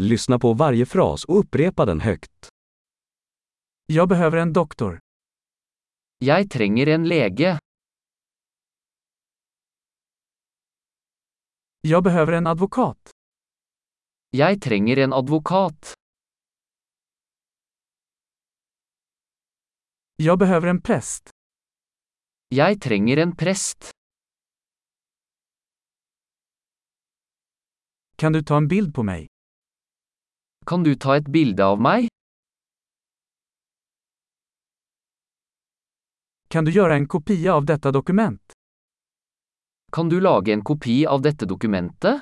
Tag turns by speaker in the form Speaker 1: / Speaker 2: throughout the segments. Speaker 1: Lyssna på varje fras och upprepa den högt.
Speaker 2: Jag behöver en doktor.
Speaker 3: Jeg trenger en lege.
Speaker 2: Jag behöver en advokat.
Speaker 3: Jeg trenger en advokat.
Speaker 2: Jag behöver en präst.
Speaker 3: Jeg trenger en prest.
Speaker 2: Kan du ta en bild på mig?
Speaker 3: Kan du ta et bilde av meg?
Speaker 2: Kan du göra en kopia av detta dokument?
Speaker 3: Kan du lage en kopi av dette dokumentet?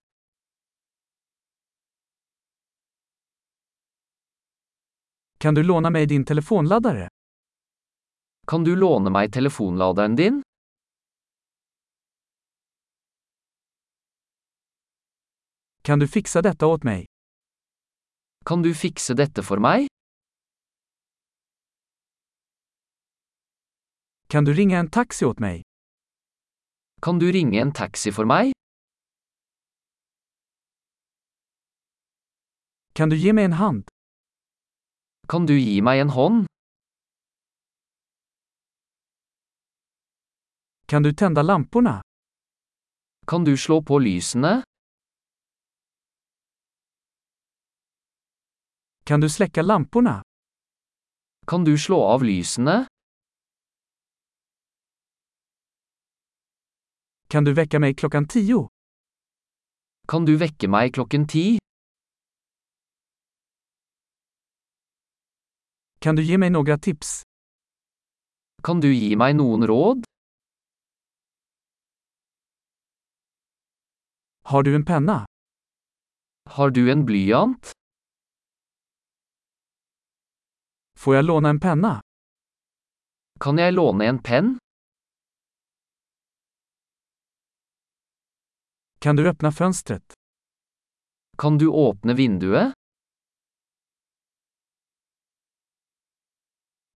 Speaker 2: Kan du låna mig din telefonladdare?
Speaker 3: Kan du låne meg telefonladeren din?
Speaker 2: Kan du fixa detta åt mig?
Speaker 3: Kan du fikse dette for meg?
Speaker 2: Kan du ringa en taxi åt mig?
Speaker 3: Kan du ringe en taxi for meg?
Speaker 2: Kan du ge mig en hand?
Speaker 3: Kan du gi meg en hånd?
Speaker 2: Kan du tända lamporna?
Speaker 3: Kan du slå på lysene?
Speaker 2: Kan du släcka lamporna?
Speaker 3: Kan du slå av lysene?
Speaker 2: Kan du väcka mig klockan tio?
Speaker 3: Kan du vekke meg klokken ti?
Speaker 2: Kan du ge mig några tips?
Speaker 3: Kan du gi meg noen råd?
Speaker 2: Har du en penna?
Speaker 3: Har du en blyant?
Speaker 2: Får jag låna en penna?
Speaker 3: Kan jeg låne en penn?
Speaker 2: Kan du öppna fönstret?
Speaker 3: Kan du åpne vinduet?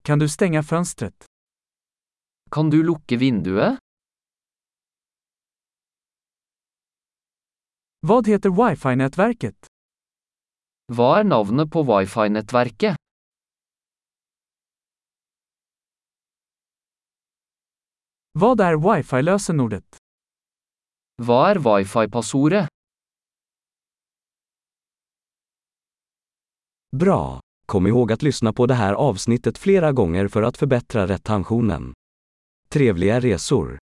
Speaker 2: Kan du stänga fönstret?
Speaker 3: Kan du lukke vinduet?
Speaker 2: Vad heter wifi-nätverket?
Speaker 3: Hva er navnet på wifi-nettverket?
Speaker 2: Vad är wifi-lösenordet?
Speaker 3: Hva er wifi-passordet?
Speaker 1: Bra! Kom ihåg att lyssna på det här avsnittet flera gånger för att förbättra retentionen. Trevliga resor!